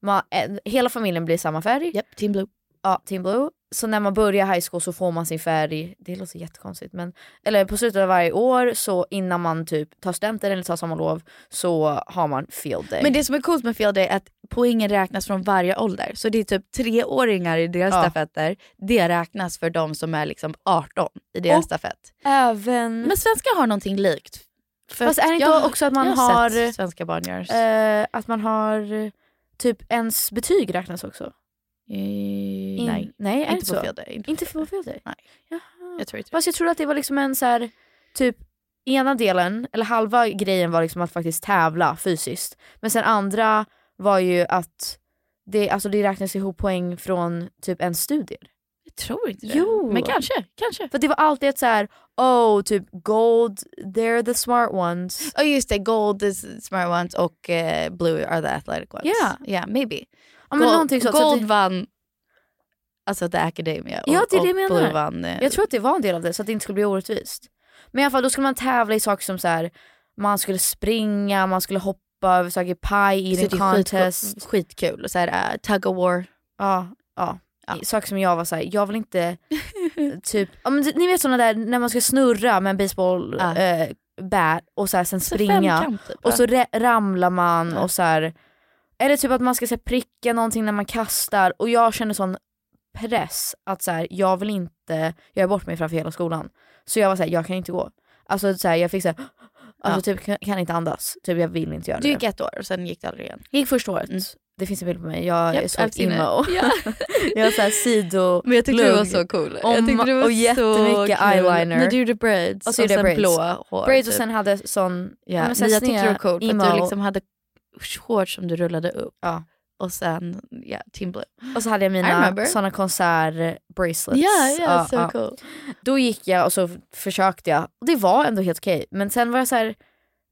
man, eh, hela familjen blir samma färg. Yep, team blue. Ja, team blue. Så när man börjar high school så får man sin färg, det låter jättekonstigt men, eller på slutet av varje år så innan man typ tar studenten eller tar sommarlov så har man field day. Men det som är coolt med field day är att poängen räknas från varje ålder. Så det är typ treåringar i deras Ja. stafetter, det räknas för de som är liksom 18 i deras Och stafett. även... Men svenskar har någonting likt. För Fast är det inte jag- också att man jag har... har- sett svenska barn göra så. Eh, att man har eh, typ ens betyg räknas också. Eh, in- nej, nej, är det inte så? på field day. Inte. Inte för field day. Nej. Jaha. Jag tror inte det. Fast jag trodde att det var liksom en så här, typ ena delen, eller halva grejen var liksom att faktiskt tävla fysiskt. Men sen andra var ju att det, alltså det räknas ihop poäng från typ en studier. Jag tror inte det. Jo. Men kanske, kanske. För det var alltid ett så här, oh typ gold, they're the smart ones. Ja just det, Oh, gold is smart ones och eh, blue are the athletic ones. Ja. yeah maybe. Ja, men någonting sånt. Så gold det- vann alltså the academia och, Ja, det är det och jag menar. blue vann eh, Jag tror att det var en del av det så att det inte skulle bli orättvist. Men i alla fall då skulle man tävla i saker som så här, man skulle springa, man skulle hoppa över saker i pie, Så eating det är skitco- contest. skitkul. Och så här, uh, tug of war. Ja, ja. Saker som jag var såhär, jag vill inte typ, ja, men, ni vet sådana där när man ska snurra med en baseball Ja. eh, bat och så här, sen Så springa femkamp, typ, och va? så re- ramlar man Ja. och så här. eller typ att man ska så här, pricka någonting när man kastar och jag känner sån press att så här, jag vill inte göra bort mig framför hela skolan. Så jag var såhär, jag kan inte gå. Alltså så här, jag fick såhär, alltså, typ, kan, kan inte andas, typ, jag vill inte göra Du det. gick ett år och sen gick det aldrig igen. Jag gick första året. Det finns en bild på mig, jag Japp, är I've så seen it. emo. Ja. jag har såhär sido Men jag tyckte du var lugg. så cool. Och jag tyckte ma- du var och jättemycket så kul. eyeliner. När du gjorde braids Och så gjorde jag sen braids. blå hår. Braids och typ. sen hade sån, Ja, men men så här jag tyckte det sneda var coolt för att emo. du liksom hade shorts som du rullade upp. Ja. Och sen, ja, team blue. och så hade jag I mina remember. såna konsert-bracelets. Ja, ja, Ja, so ja. cool. Då gick jag och så f- försökte jag och det var ändå helt okej men sen var jag så här.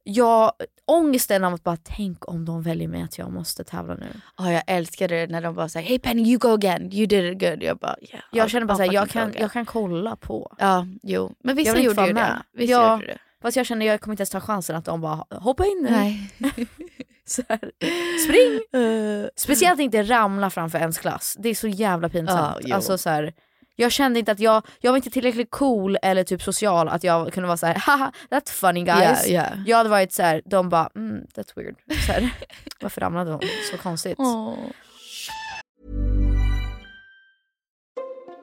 jag, ångesten av att bara tänk om de väljer mig att jag måste tävla nu. Ja, jag älskade det när de bara säger hey Penny you go again, you did it good. Jag bara yeah. Jag I'll- känner bara I'll såhär, jag fucking go kan, again." jag kan kolla på. Ja, jo. Men Jag vissa vill inte gjorde ju vara med. det. Vissa ja, gjorde det. Fast jag känner jag kommer inte ens ta chansen att de bara hoppa in nu. Nej. så här, spring! Speciellt inte ramla framför ens klass. Det är så jävla pinsamt. Ja, Ah, jo. alltså, så här, jag kände inte att jag, jag var inte tillräckligt cool eller typ social att jag kunde vara så här, haha that's funny guys. Yeah, yeah. Jag hade varit så här, de bara mm, that's weird. Så här, varför ramlade hon? Så konstigt.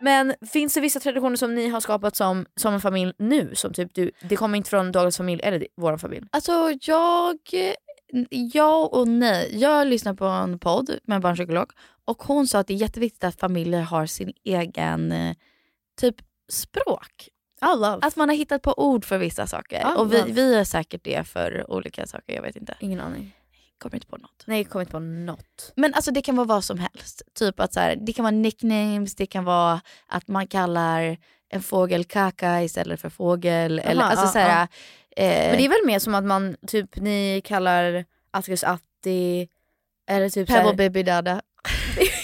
Men finns det vissa traditioner som ni har skapat som, som en familj nu? Som typ du, det kommer inte från dagens familj eller vår familj? Alltså jag, ja och nej. Jag lyssnar på en podd med en barnpsykolog och hon sa att det är jätteviktigt att familjer har sin egen eh, typ språk. Alltså- Att man har hittat på ord för vissa saker. I och vi, love. vi är säkert det för olika saker, jag vet inte. Ingen aning. Kommer inte på något. Nej, jag kommer inte på något. Men alltså det kan vara vad som helst. Typ att så här, det kan vara nicknames, det kan vara att man kallar en fågel kaka istället för fågel. eller, Aha, alltså ja, så här, ja. eh, Men det är väl mer som att man, typ ni kallar Atticus Atti, eller typ så här- Pebble Baby Dada.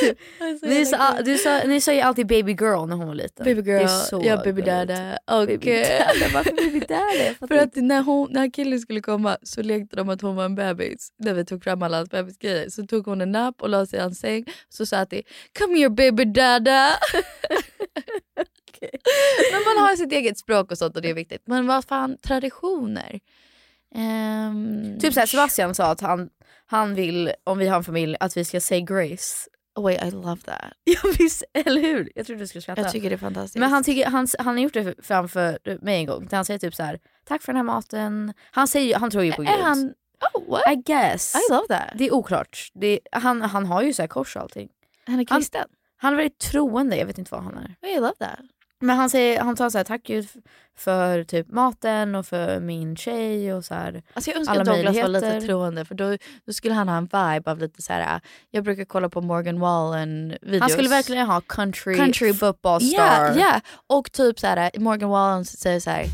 Typ, ni, sa, du sa, ni sa ju alltid baby girl när hon var liten. Baby Det girl, är så ja baby gulligt. dada. Och, eh, Baby dada, varför baby dada? För att när, hon, när killen skulle komma så lekte de att hon var en bebis. När vi tog fram alla hans bebisgrejer. Så tog hon en napp och la sig i hans säng. Så sa att det “Come here baby dada”. Men man har sitt eget språk och sånt och det är viktigt. Men vad fan, traditioner? Ehm, Typ såhär Sebastian sa att han, han vill, om vi har en familj, att vi ska say grace. Oh, wait, I love that. Ja visst, eller hur? Jag trodde du skulle skratta. Jag tycker det är fantastiskt. Men han, tycker, han, han har gjort det framför mig en gång. där Han säger typ så här: tack för den här maten. Han, säger, han tror ju på Är Gud. han- oh, what? I guess. I love that. Det är oklart. Det, han, han har ju så här kors och allting. Han är kristen. Han, han är väldigt troende, jag vet inte vad han är. I love that. Men han, säger, han tar så här, tack Gud f- för typ maten och för min tjej och så här, Alltså jag önskar att Douglas var lite troende för då, då skulle han ha en vibe av lite så här. äh, jag brukar kolla på Morgan Wallen videos. Han skulle verkligen ha country, Country- football star. Yeah, yeah. Och äh, typ så här, Morgan Wallen säger så här.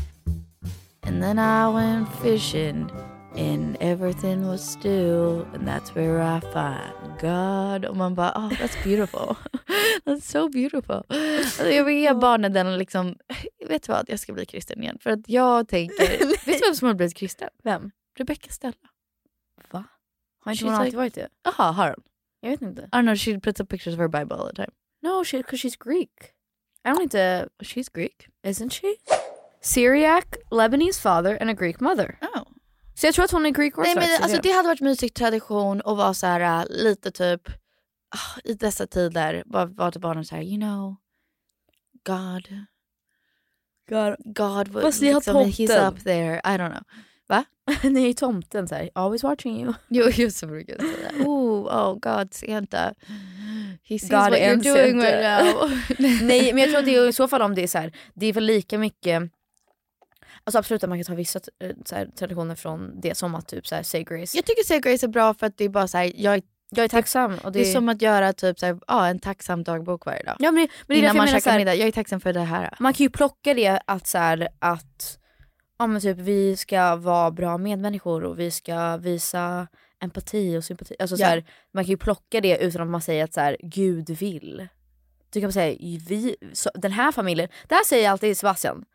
And then I went fishing And everything was still, and that's where I find God. Och man bara, oh, that's beautiful. that's so beautiful. Alltså jag vill ge barnen den liksom, vet du vad, jag ska bli kristen igen. För att jag tänker, vet du vem som har blivit kristen? Vem? Rebecca Stella. Va? Har inte hon alltid varit det? Jaha, har hon? Jag vet inte. I don't know, she puts up pictures of her Bible all the time. No, she, cause she's Greek. I don't need to. She's Greek. Isn't she? Syriac, Lebanese father and a Greek mother. Oh. Så jag tror att hon är Greek Nej orthodox. men är alltså det hade varit mysig tradition och vara så här äh, lite typ ah, i dessa tider bara vara till barnen så här you know God God. God was Fast ni har liksom, he's tomten. up there I don't know. Va? Nej, tomten såhär, always watching you. Jo just det brukar jag säga. Oh, oh God Santa. He sees God what you're and doing Santa. right now. Nej men jag tror att det är i så fall om det är så här, det är väl lika mycket Alltså absolut att man kan ta vissa eh, så här, traditioner från det som att typ så här, say grace. Jag tycker Say Grace är bra för att det är bara så här, jag, Jag är tacksam. Och det, det, är som att göra typ så här, ah, en tacksam dagbok varje dag. ja, men, men det är Innan därför jag man menar så käkar här, middag, jag är tacksam för det här. Man kan ju plocka det att så här, att ja, men typ, vi ska vara bra medmänniskor och vi ska visa empati och sympati. Alltså, Ja. så här, man kan ju plocka det utan att man säger att så här, Gud vill. Du kan säga vi, så, den här familjen, det här säger jag alltid Sebastian.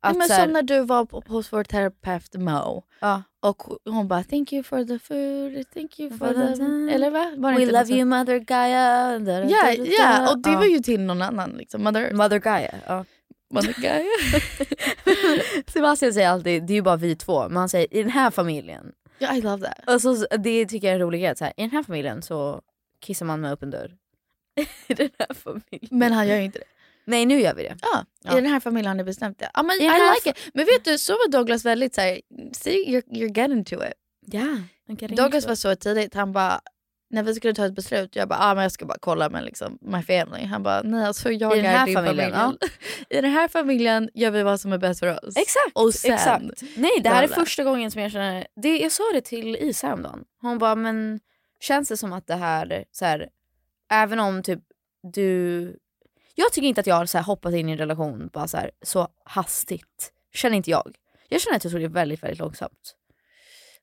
Att, Nej, men så här, som när du var på- hos vår terapeut Mo ja. och hon bara “thank you for the food, thank you for the...” Eller va? Var det We inte love något sånt? you mother Gaia. Da, da, da, Ja, da, ja, da. och det Ja. var ju till någon annan liksom. Mother, Mother Gaia. Ja. mother guy. Sebastian säger alltid, det är ju bara vi två, men han säger i den här familjen. yeah, I love that. Alltså, det tycker jag är en rolig grej, att så här, i den här familjen så kissar man med öppen dörr. I den här familjen. Men han gör ju inte det. Nej nu gör vi det. Ja, Ja. I den här familjen har ni bestämt det. Ja, men I I den här like it. Men vet du, så var Douglas väldigt så här, see you're, you're getting to it. Ja. man kan ringa Douglas så. var så tidigt, han bara när vi skulle ta ett beslut, jag bara ah, men jag ska bara kolla med liksom, my family. Han bara nej alltså jag I den är här din familjen, familj. I den här familjen gör vi vad som är bäst för oss. Exakt! Och sen- exakt. Nej det här är Bla, bla. första gången som jag känner, det, jag sa det till Isa häromdagen. Hon bara men känns det som att det här, så här även om typ du, jag tycker inte att jag har så här hoppat in i en relation bara så, här, så hastigt. Känner inte jag. Jag känner att jag tog det väldigt väldigt långsamt.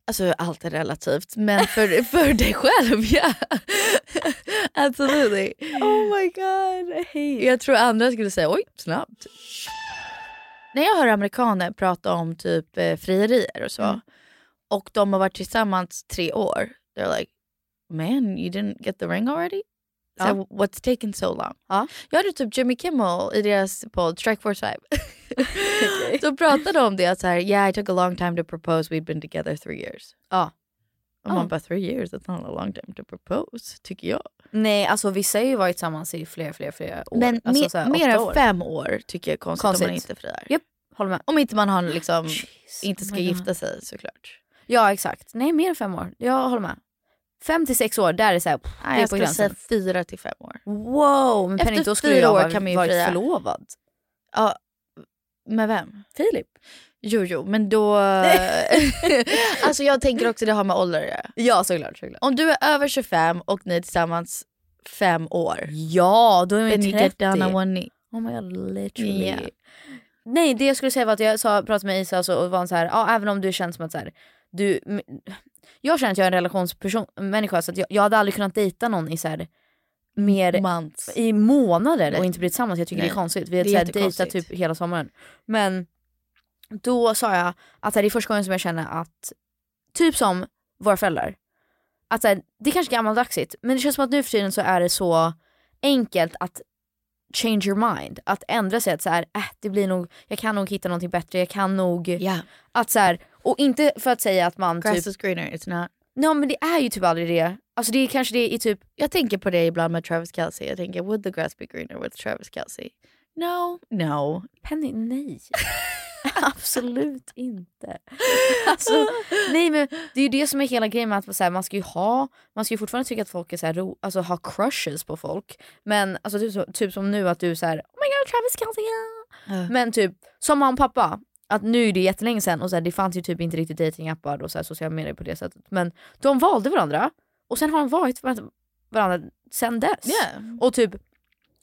Alltså allt är relativt men för, för dig själv ja. Absolutely. Oh my god, I hate Jag tror andra skulle säga oj snabbt. När jag hör amerikaner prata om typ eh, frierier och så Mm. och de har varit tillsammans tre år, they're like man you didn't get the ring already? So, Ja. What's taken so long? Ja. Jag hade typ Jimmy Kimmel i deras podd Strike Force 5. Så pratade de om det, att så här, yeah I took a long time to propose, we'd been together three years. Ja. Och man Ja. bara three years, that's not a long time to propose, tycker jag. Nej, alltså vissa har ju varit tillsammans i flera, flera, flera år. Men alltså, me- så här, mer åtta än år. fem år tycker jag är konstigt, om man Konstigt. inte friar. Japp, håller med. Om inte man har liksom, Jeez, inte ska oh my God. gifta sig såklart. Ja, exakt. Nej, mer än fem år. Jag håller med. Fem till sex år, där är det såhär, Nej, jag skulle säga fyra till fem år. Wow, men Efter Penny, då skulle fyra jag år ha kan man ju varit fria. förlovad. Ja, med vem? Filip? Jo, jo, men då... alltså jag tänker också det har med ålder att göra. Eh, Ja, såklart. såklart. Om du är över 25 och ni är tillsammans fem år. Ja, då är man Then ju you get 30. down on one knee. Oh my god, literally. Yeah. Nej, det jag skulle säga var att jag sa, pratade med Isa och så och var hon så här, ja även om du känns som att så här, du, m- jag känner att jag är en relationsperson, människa så att jag, jag hade aldrig kunnat dejta någon i så här, mer Months. i månader Nej. och inte blivit tillsammans. Jag tycker Nej. det är konstigt. Vi har Det är så här dejtat jättekonstigt. typ hela sommaren. Men då sa jag att så här, det är första gången som jag känner att, typ som våra föräldrar, att så här, det är kanske är gammaldagsigt men det känns som att nu för tiden så är det så enkelt att change your mind, att ändra sig att så här, äh, det blir nog, jag kan nog hitta någonting bättre, jag kan nog, Yeah. att så här, och inte för att säga att man Grass typ, is greener, it's not. nej men det är ju typ aldrig det, alltså det är kanske det i typ Jag tänker på det ibland med Travis Kelce. Jag tänker, would the grass be greener with Travis Kelce? No. No. Penny, nej. Absolut inte. Alltså, nej men det är ju det som är hela grejen med att så här, man ska ju ha, man ska ju fortfarande tycka att folk är så här, ro, alltså ha crushes på folk. Men alltså typ, så, typ som nu att du så här, oh my god Travis Kelce. ja." Ja. Men typ som mamma och pappa, att nu är det jättelänge sedan och så här, det fanns ju typ inte riktigt datingappar och så här, sociala medier på det sättet. Men de valde varandra och sen har de varit med varandra sen dess. Yeah. Och typ,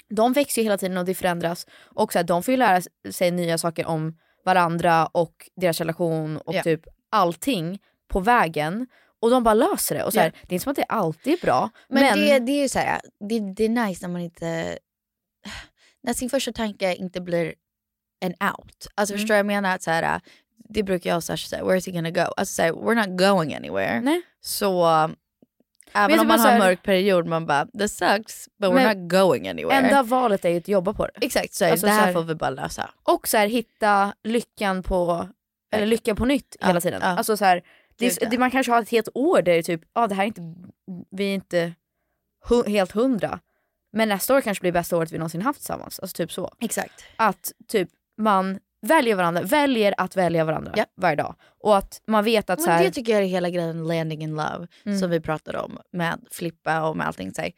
de växer ju hela tiden och det förändras. Och så här, de får ju lära sig nya saker om varandra och deras relation och Ja. typ allting på vägen och de bara löser det. Och så här, Det är inte som att det alltid är bra. Men, Det, det är ju så här, det, det är nice när man inte... När sin första tanke inte blir en out. Alltså Mm. förstår jag vad jag menar? Att så här, det brukar jag och Sasha säga, where is he gonna go? Alltså så här, we're not going anywhere. Så jag även tror om man bara så har en här- mörk period, man bara, this sucks, but we're Men not going anywhere. Enda valet är ju att jobba på det. Exakt, så är det. Alltså, det så här här- får vi bara lösa. Och så här, hitta lyckan på, eller lyckan på nytt hela tiden. ja. Alltså så här, det, Gud, ja. är- det, man kanske har ett helt år där det är typ, ja det här är inte, vi är inte hu- helt hundra. Men nästa år kanske blir bästa året vi någonsin haft tillsammans. Alltså typ så. Exakt. Att typ man väljer varandra, väljer att välja varandra varje dag. Och att man vet att så Men här, det tycker jag är hela grejen landing in love Mm. som vi pratade om med Flippa och med allting. Så här,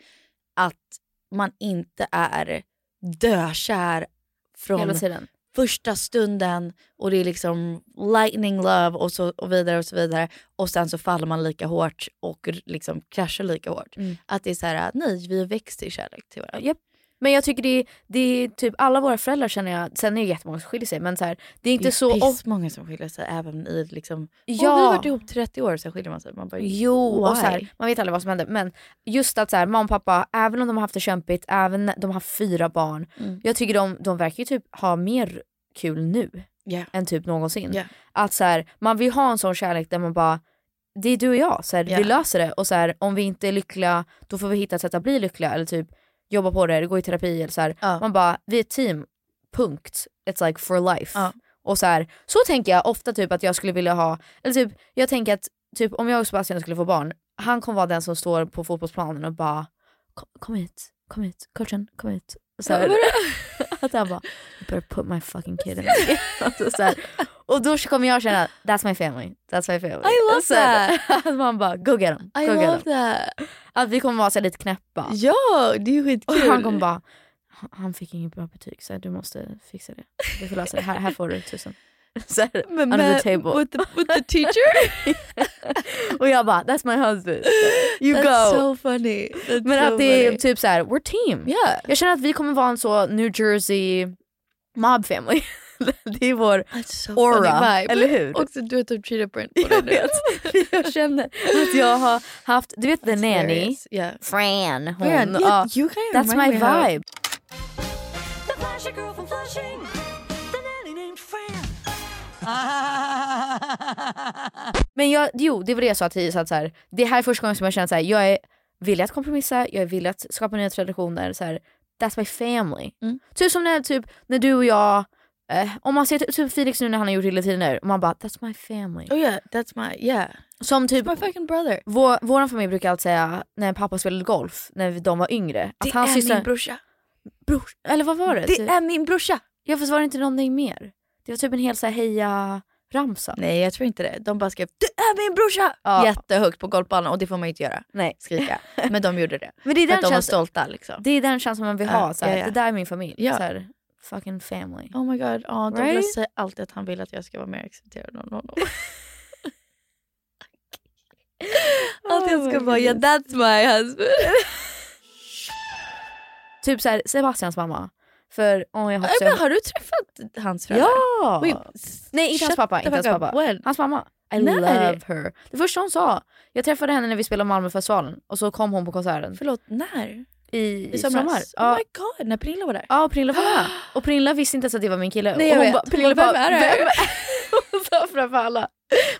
att man inte är dökär Hela från tiden. första stunden och det är liksom lightning love och så och vidare och så vidare och sen så faller man lika hårt och r- liksom kraschar lika hårt. Mm. Att det är så här, nej vi har växt i kärlek till varandra. Japp. Men jag tycker det är, det är typ alla våra föräldrar känner jag, sen är det jättemånga som skiljer sig men så här, det är inte så Det är ofta. många som skiljer sig även i liksom, ja. vi Ja. har varit ihop 30 år och sen skiljer man sig. Man bara, Jo, och så why? här, man vet aldrig vad som händer. Men just att så här, mamma och pappa, även om de har haft det kämpigt, även när de har haft fyra barn. Mm. Jag tycker de, de verkar ju typ ha mer kul nu Ja. än typ någonsin. Ja. Att så här, man vill ha en sån kärlek där man bara, det är du och jag, så här, Ja. vi löser det. Och så här, om vi inte är lyckliga, då får vi hitta ett sätt att bli lyckliga. Eller typ jobba på det, gå i terapi. Eller så här. Man bara, vi är ett team, punkt. It's like for life. Och så, här, så tänker jag ofta typ att jag skulle vilja ha, eller typ jag tänker att typ om jag och Sebastian skulle få barn, han kommer vara den som står på fotbollsplanen och bara kom, kom hit, kom hit, coachen kom hit. Och Så här, att han bara you better put my fucking kid in the game." alltså, så här, Och då kommer jag känna that's my family, that's my family. I love så här, Att man bara go get them, I go love get them. Att vi kommer vara så här, lite knäppa. Ja, det är ju Och skitkul. han kommer bara "Han- han fick inget bra betyg så här, du måste fixa det. Du får lösa det, här, här får du tusen. Så här, Men under med- the table. with the, with the teacher? Och jag bara, that's my husband. You That's go. so funny. That's Men so att det är funny. typ så här, we're team. Yeah. Jag känner att vi kommer vara en så New Jersey mob family. det är vår Alltså, aura, Funny vibe. eller hur? Och så du har typ cheatat på den. på den nu. jag känner att jag har haft, du vet the nanny, hilarious. Yeah. Fran, hon, Fran, yeah, ja, you kinda that's my remind me how- vibe. The flashy girl from Flushing. The nanny named Fran. Men jag, jo, det var det jag sa till Isa, att så här, det här är första gången som jag känner att jag är villig att kompromissa, jag är villig att skapa nya traditioner. Så här, that's my family. Mm. Typ som när, typ, när du och jag, eh, om man ser typ, typ Felix nu när han har gjort Illetiner, och man bara that's my family. Oh yeah, that's my, yeah. Som typ, My fucking brother. vår, våran familj brukar alltid säga när pappa spelade golf, när vi- de var yngre. Det att hans är syster, min brorsa. bror, Eller vad var det? Det Typ- är min brorsa. Ja fast var det inte någonting mer? Det var typ en hel så här, heja-ramsa. Nej jag tror inte det. De bara skrev det är min brorsa Ja. jättehögt på golfbanan och det får man ju inte göra. Nej. Skrika. Men de gjorde det. Men det är För att den de var känslan- stolta liksom. Det är den känslan man vill ha. Ja, så här, ja, ja. Det där är min familj. Ja. Så här, fucking family. Oh my god, ja, Douglas Right? säger alltid att han vill att jag ska vara mer accepterad än honom. att jag ska vara, yeah that's my husband. Typ så här, Sebastians mamma. För oh, jag Ja, hoppas men jag... har du träffat hans föräldrar? Ja! Nej inte hans shut pappa. the Inte hans fuck up. pappa. When? Hans mamma. I Nej. love her. Det första hon sa, jag träffade henne när vi spelade Malmöfestivalen och så kom hon på konserten. Förlåt, när? I, I somras? sommar. Ja. Oh my god, när Pernilla var där? Ja, och Pernilla var med. Och Pernilla visste inte ens att det var min kille. Nej, jag och hon vet. bara, Hon Pernilla bara, bara, "Vem är det?" "Vem är-" Hon sa framför alla. Men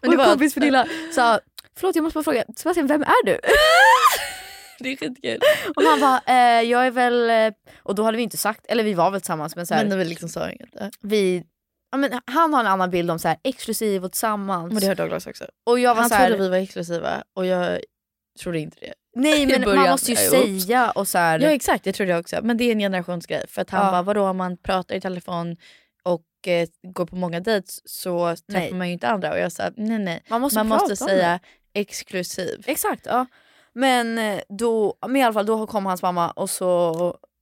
Men det Min var- kompis Pernilla sa, förlåt jag måste bara fråga, Sebastian vem är du? Det är skitkul. Och han bara, eh, jag är väl... eh," Och då hade vi inte sagt, eller vi var väl tillsammans men så här, Men vi liksom sa inget. ja. vi... Ja, men han har en annan bild om så här, exklusiv och tillsammans. Men det har Douglas också. och jag var Han så här, trodde vi var exklusiva och jag trodde inte det. nej i men början. man måste ju Ja, oops. säga och så här, Ja exakt, det trodde jag också. Men det är en generationsgrej. För att han Ja. bara, vadå om man pratar i telefon och eh, går på många dejts så träffar Nej. man ju inte andra. Och jag sa, nej nej. man måste, man prata måste om säga exklusiv. det. Exakt, ja. Men eh, då, men i alla fall då kom hans mamma och så,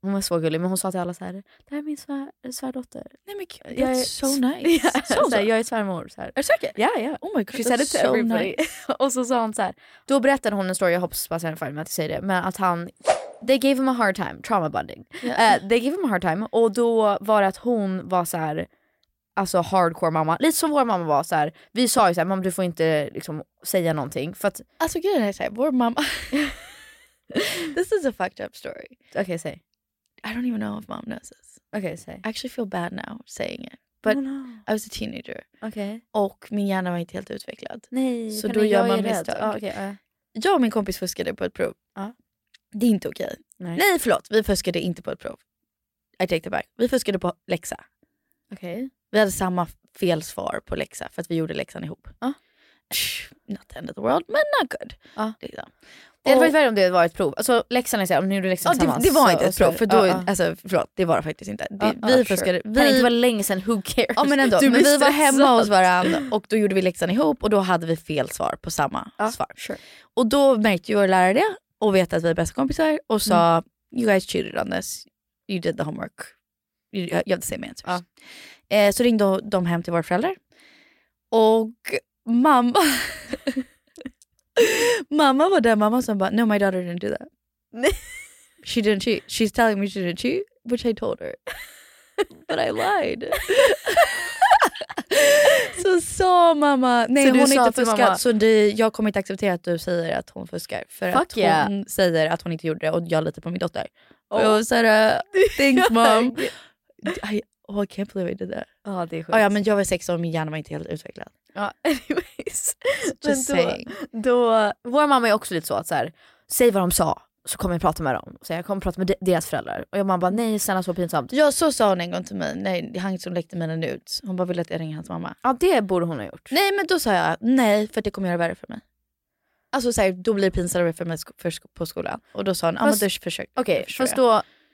hon var så gullig men hon sa till alla så här, det här är min svär, svärdotter. Nej men gud, Jag that's är- so nice. Ja, So så här, nice. jag är svärmor. Så här. Är du säker? Ja, ja. Oh my god, She said that's it to so everybody. nice. och så sa hon så här. Då berättade hon en story, jag hoppas Sebastian är fine med att jag säger det, men att han They gave him a hard time, trauma bonding. Ja. Eh, they gave him a hard time och då var det att hon var så här alltså hardcore mamma, lite som vår mamma var så här. vi sa ju såhär, mamma du får inte liksom säga någonting för att... Alltså grejen är såhär, vår mamma... this is a fucked up story. Okej säg. I don't even know if mom knows this. Okej säg. I actually feel bad now saying it. But Oh, no. I was a teenager. Okej. Och min hjärna var inte helt utvecklad. Nej, så Karin, då gör jag är man rädd. misstag. Ja, okej, ja. Jag och min kompis fuskade på ett prov. Det är inte okej. Nej. Nej förlåt, vi fuskade inte på ett prov. I take that back. Vi fuskade på läxa. Okej. Vi hade samma fel svar på läxa för att vi gjorde läxan ihop. Tsch, Not the end of the world, men not good. Liksom. Det hade Och- varit värre om det var ett prov. Alltså läxan är såhär, om ni gjorde läxan Ja, det, tillsammans. det var så- inte ett så- prov, för då, ja, ja. alltså, förlåt, det var det faktiskt inte. Det, Ja, ja, vi sure. fuskade. Kan Vi, det inte vara länge sedan, who cares? Ja men ändå, Du men blir vi var stressad. hemma hos varandra och då gjorde vi läxan ihop och då hade vi fel svar på samma svar. Och då märkte ju vår lärare det och vet att vi är bästa kompisar och sa you guys cheated on this, you did the homework, you, you have the same answers. typ. Eh, så ringde de hem till våra föräldrar och mamma mamma var den mamma som bara no my daughter didn't do that. She didn't cheat. She's telling me she didn't cheat, which I told her. But I lied. så sa mamma, nej Så du hon har sa inte till fuskat mamma- så det, jag kommer inte acceptera att du säger att hon fuskar. För Fuck att yeah. hon säger att hon inte gjorde det och jag litar på min dotter. Och Oh. jag var såhär, thanks mom. I, oh, I can't believe I did that. Ja det är sjukt. Ah, ja men jag var sex år och min hjärna var inte helt utvecklad. Ja, anyways. Men då- då, vår mamma är också lite så att så här, säg vad de sa så kommer jag prata med dem. Så jag kommer prata med de- deras föräldrar. Och jag mamma bara nej snälla så pinsamt. Ja så sa hon en gång till mig, nej, han som läckte mina nudes. Hon bara ville att jag ringer hans mamma. Ja det borde hon ha gjort. Nej men då sa jag nej för att det kommer göra det värre för mig. Alltså så här, då blir det pinsammare för mig sko- för sko- på skolan. Och då sa hon, ja men Fast- du försökte. Okej, det förstår fast jag.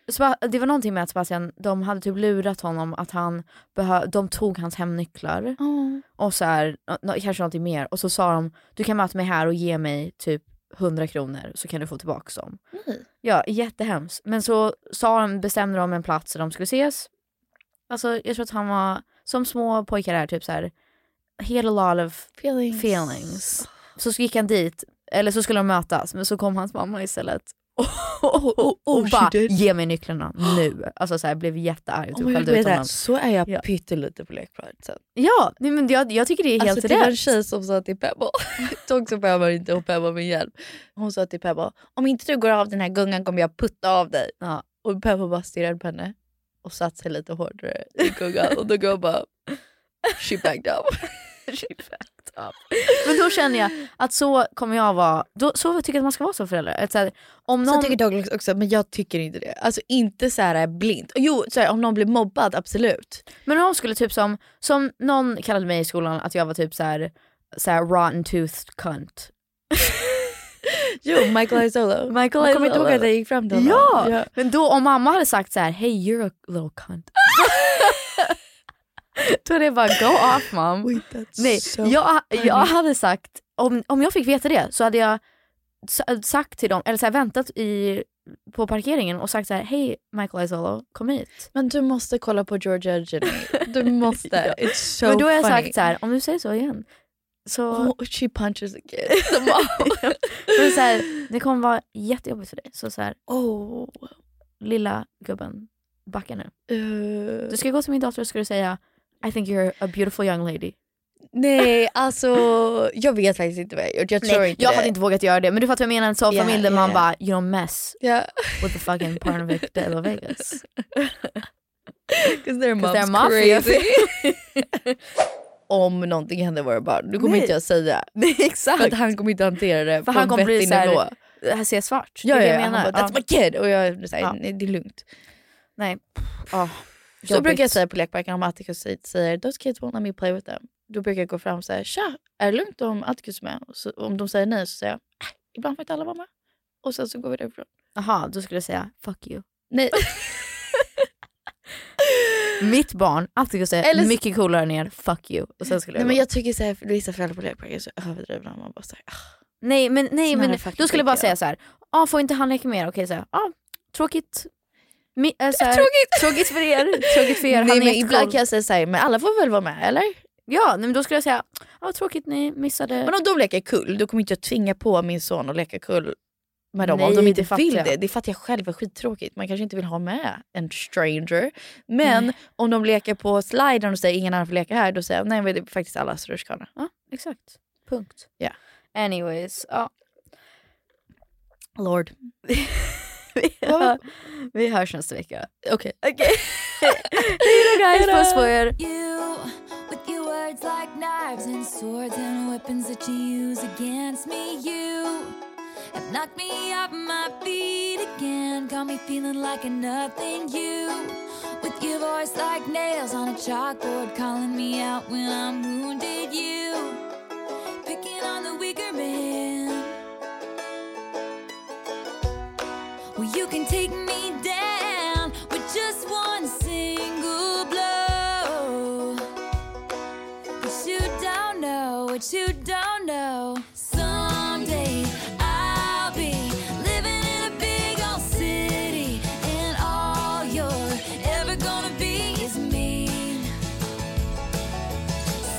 då, Spa- det var någonting med att Sebastian, de hade typ lurat honom att han behö- de tog hans hemnycklar Ja. och så här, nå- nå- kanske någonting mer och så sa de du kan möta mig här och ge mig typ 100 kronor så kan du få tillbaka dem. Nej. Ja, jättehemskt. Men så sa de, bestämde de en plats där de skulle ses. Alltså jag tror att han var, som små pojkar är, typ så här, had a lot of feelings. feelings. Så gick han dit, eller så skulle de mötas, men så kom hans mamma istället. Och, och, Oh, och, och she bara, did. ge mig nycklarna nu. Alltså så här, blev jättearg och Oh typ my God, skällde vet ut du honom. vad? Så är jag Ja. pyttelite på lekplatsen. Ja, nej, men jag, jag tycker det är helt Alltså, det rätt. var en tjej som sa till Pebble, tog som Pebble inte och Pebble min hjälp. Hon sa till Pebble, om inte du går av den här gungan kommer jag putta av dig. Ja. Och Pebble bara stirrade på henne och satte sig lite hårdare i gungan och då går hon bara, she backed up. Men då känner jag att så kommer jag vara, då, så tycker jag att man ska vara som förälder. Att så här, om någon, Så tycker Douglas också, men jag tycker inte det. Alltså inte så här blint. Jo, så här, om någon blir mobbad, absolut. Men om hon skulle typ som, som någon kallade mig i skolan att jag var typ så här, så här rotten toothed cunt. Jo, Michael Isolo. Michael Jag kommer inte ihåg Isolo. att jag gick fram till honom. Ja! Men då om mamma hade sagt så här, hey you're a little cunt. då hade jag bara go off mom. Wait, that's Nej, so jag, funny. jag hade sagt, om, om jag fick veta det så hade jag sa- sagt till dem, eller så här, väntat i, på parkeringen och sagt så här, hej Michael Isolo, kom hit. Men du måste kolla på Georgia Jenny. Du måste. It's so Men då har jag funny. sagt så här, om du säger så igen. Så, Oh, she punches a kid. The mom. men så här, det kommer vara jättejobbigt för dig. Så, så här, oh. lilla gubben, backa nu. eh, Du ska gå till min dotter och ska du säga I think you're a beautiful young lady. nej, alltså jag vet faktiskt inte vad jag gjort. Jag tror Nej, inte jag det. hade inte vågat göra det men du fattar vad jag menar, en sån Ja, familj där ja, man ja. bara you don't mess Yeah. with the fucking Parnevik de la Vegas. Because Because they're their mom's mafia. crazy. Om någonting händer våra barn, då kommer Nej. inte jag säga. Nej exakt. För att han kommer inte hantera det För på han en kommer bli vettig såhär, nivå. det här ser svart. Ja, det är ja, det jag ja. Han bara, menar. that's Ja. my kid! Och jag säger, Ja. nej det är lugnt. Nej. Oh, Så brukar jag säga på lekparken om Atticus säger- säger those kids won't let me play with them. Då brukar jag gå fram och säga tja, är det lugnt om Atticus är med? Och Så, om de säger nej så säger jag "Ah, ibland får inte alla vara med. Och sen så går vi därifrån. Jaha, då skulle jag säga fuck you. Nej. Mitt barn, Atticus är Eller s- mycket coolare än er, fuck you. Och sen skulle nej jag men gå. jag tycker så här, för vissa föräldrar på lekparken är så överdrivna. Man bara så här, "Ah." Nej men, nej, Sån här men fucking då skulle jag bara skit, säga ja. så här. Ah, får inte han leka mer? Okej, så här, ah, tråkigt. Mi, äh, så här, Tråkigt. tråkigt för er. Tråkigt för er. Nej, han men är ibland ibland kan jag säga så här, men alla får väl vara med eller? Ja, nej, men då skulle jag säga ah, tråkigt ni missade. Men om de leker kull, då kommer inte jag tvinga på min son att leka kull med dem om de Nej, inte det fattar vill jag. det. Det fattar jag själv, är skittråkigt. Man kanske inte vill ha med en stranger. Men om de leker på sliden och säger ingen annan får leka här, då säger jag nej men det är faktiskt allas rutschkana. Ja, exakt. Punkt. Ja. Anyways, ja. Lord. vi, hör, vi hörs nästa vecka. Okej. Hej då guys, puss på er. You, with your words like knives and swords and weapons that you use against me, you have knocked me off my feet again, got me feeling like a nothing. You, with your voice like nails on a chalkboard, calling me out when I'm wounded. You, picking on the weaker man. Well, you can take me down with just one single blow. But you don't know what you don't know. Someday I'll be living in a big old city, and all you're ever gonna be is mean.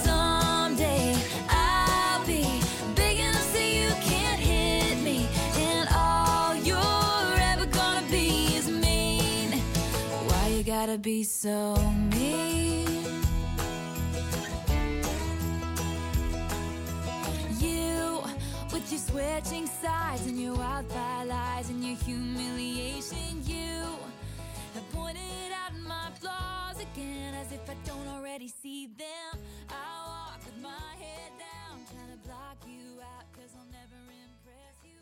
Someday I'll be big enough so you can't hit me, and all you're ever gonna be is mean. Why you gotta be so mean? You, with your switching sides and your wildfire lies and your humiliation, you have pointed out my flaws again as if I don't already see them. I walk with my head down, trying to block you out, cause I'll never impress you.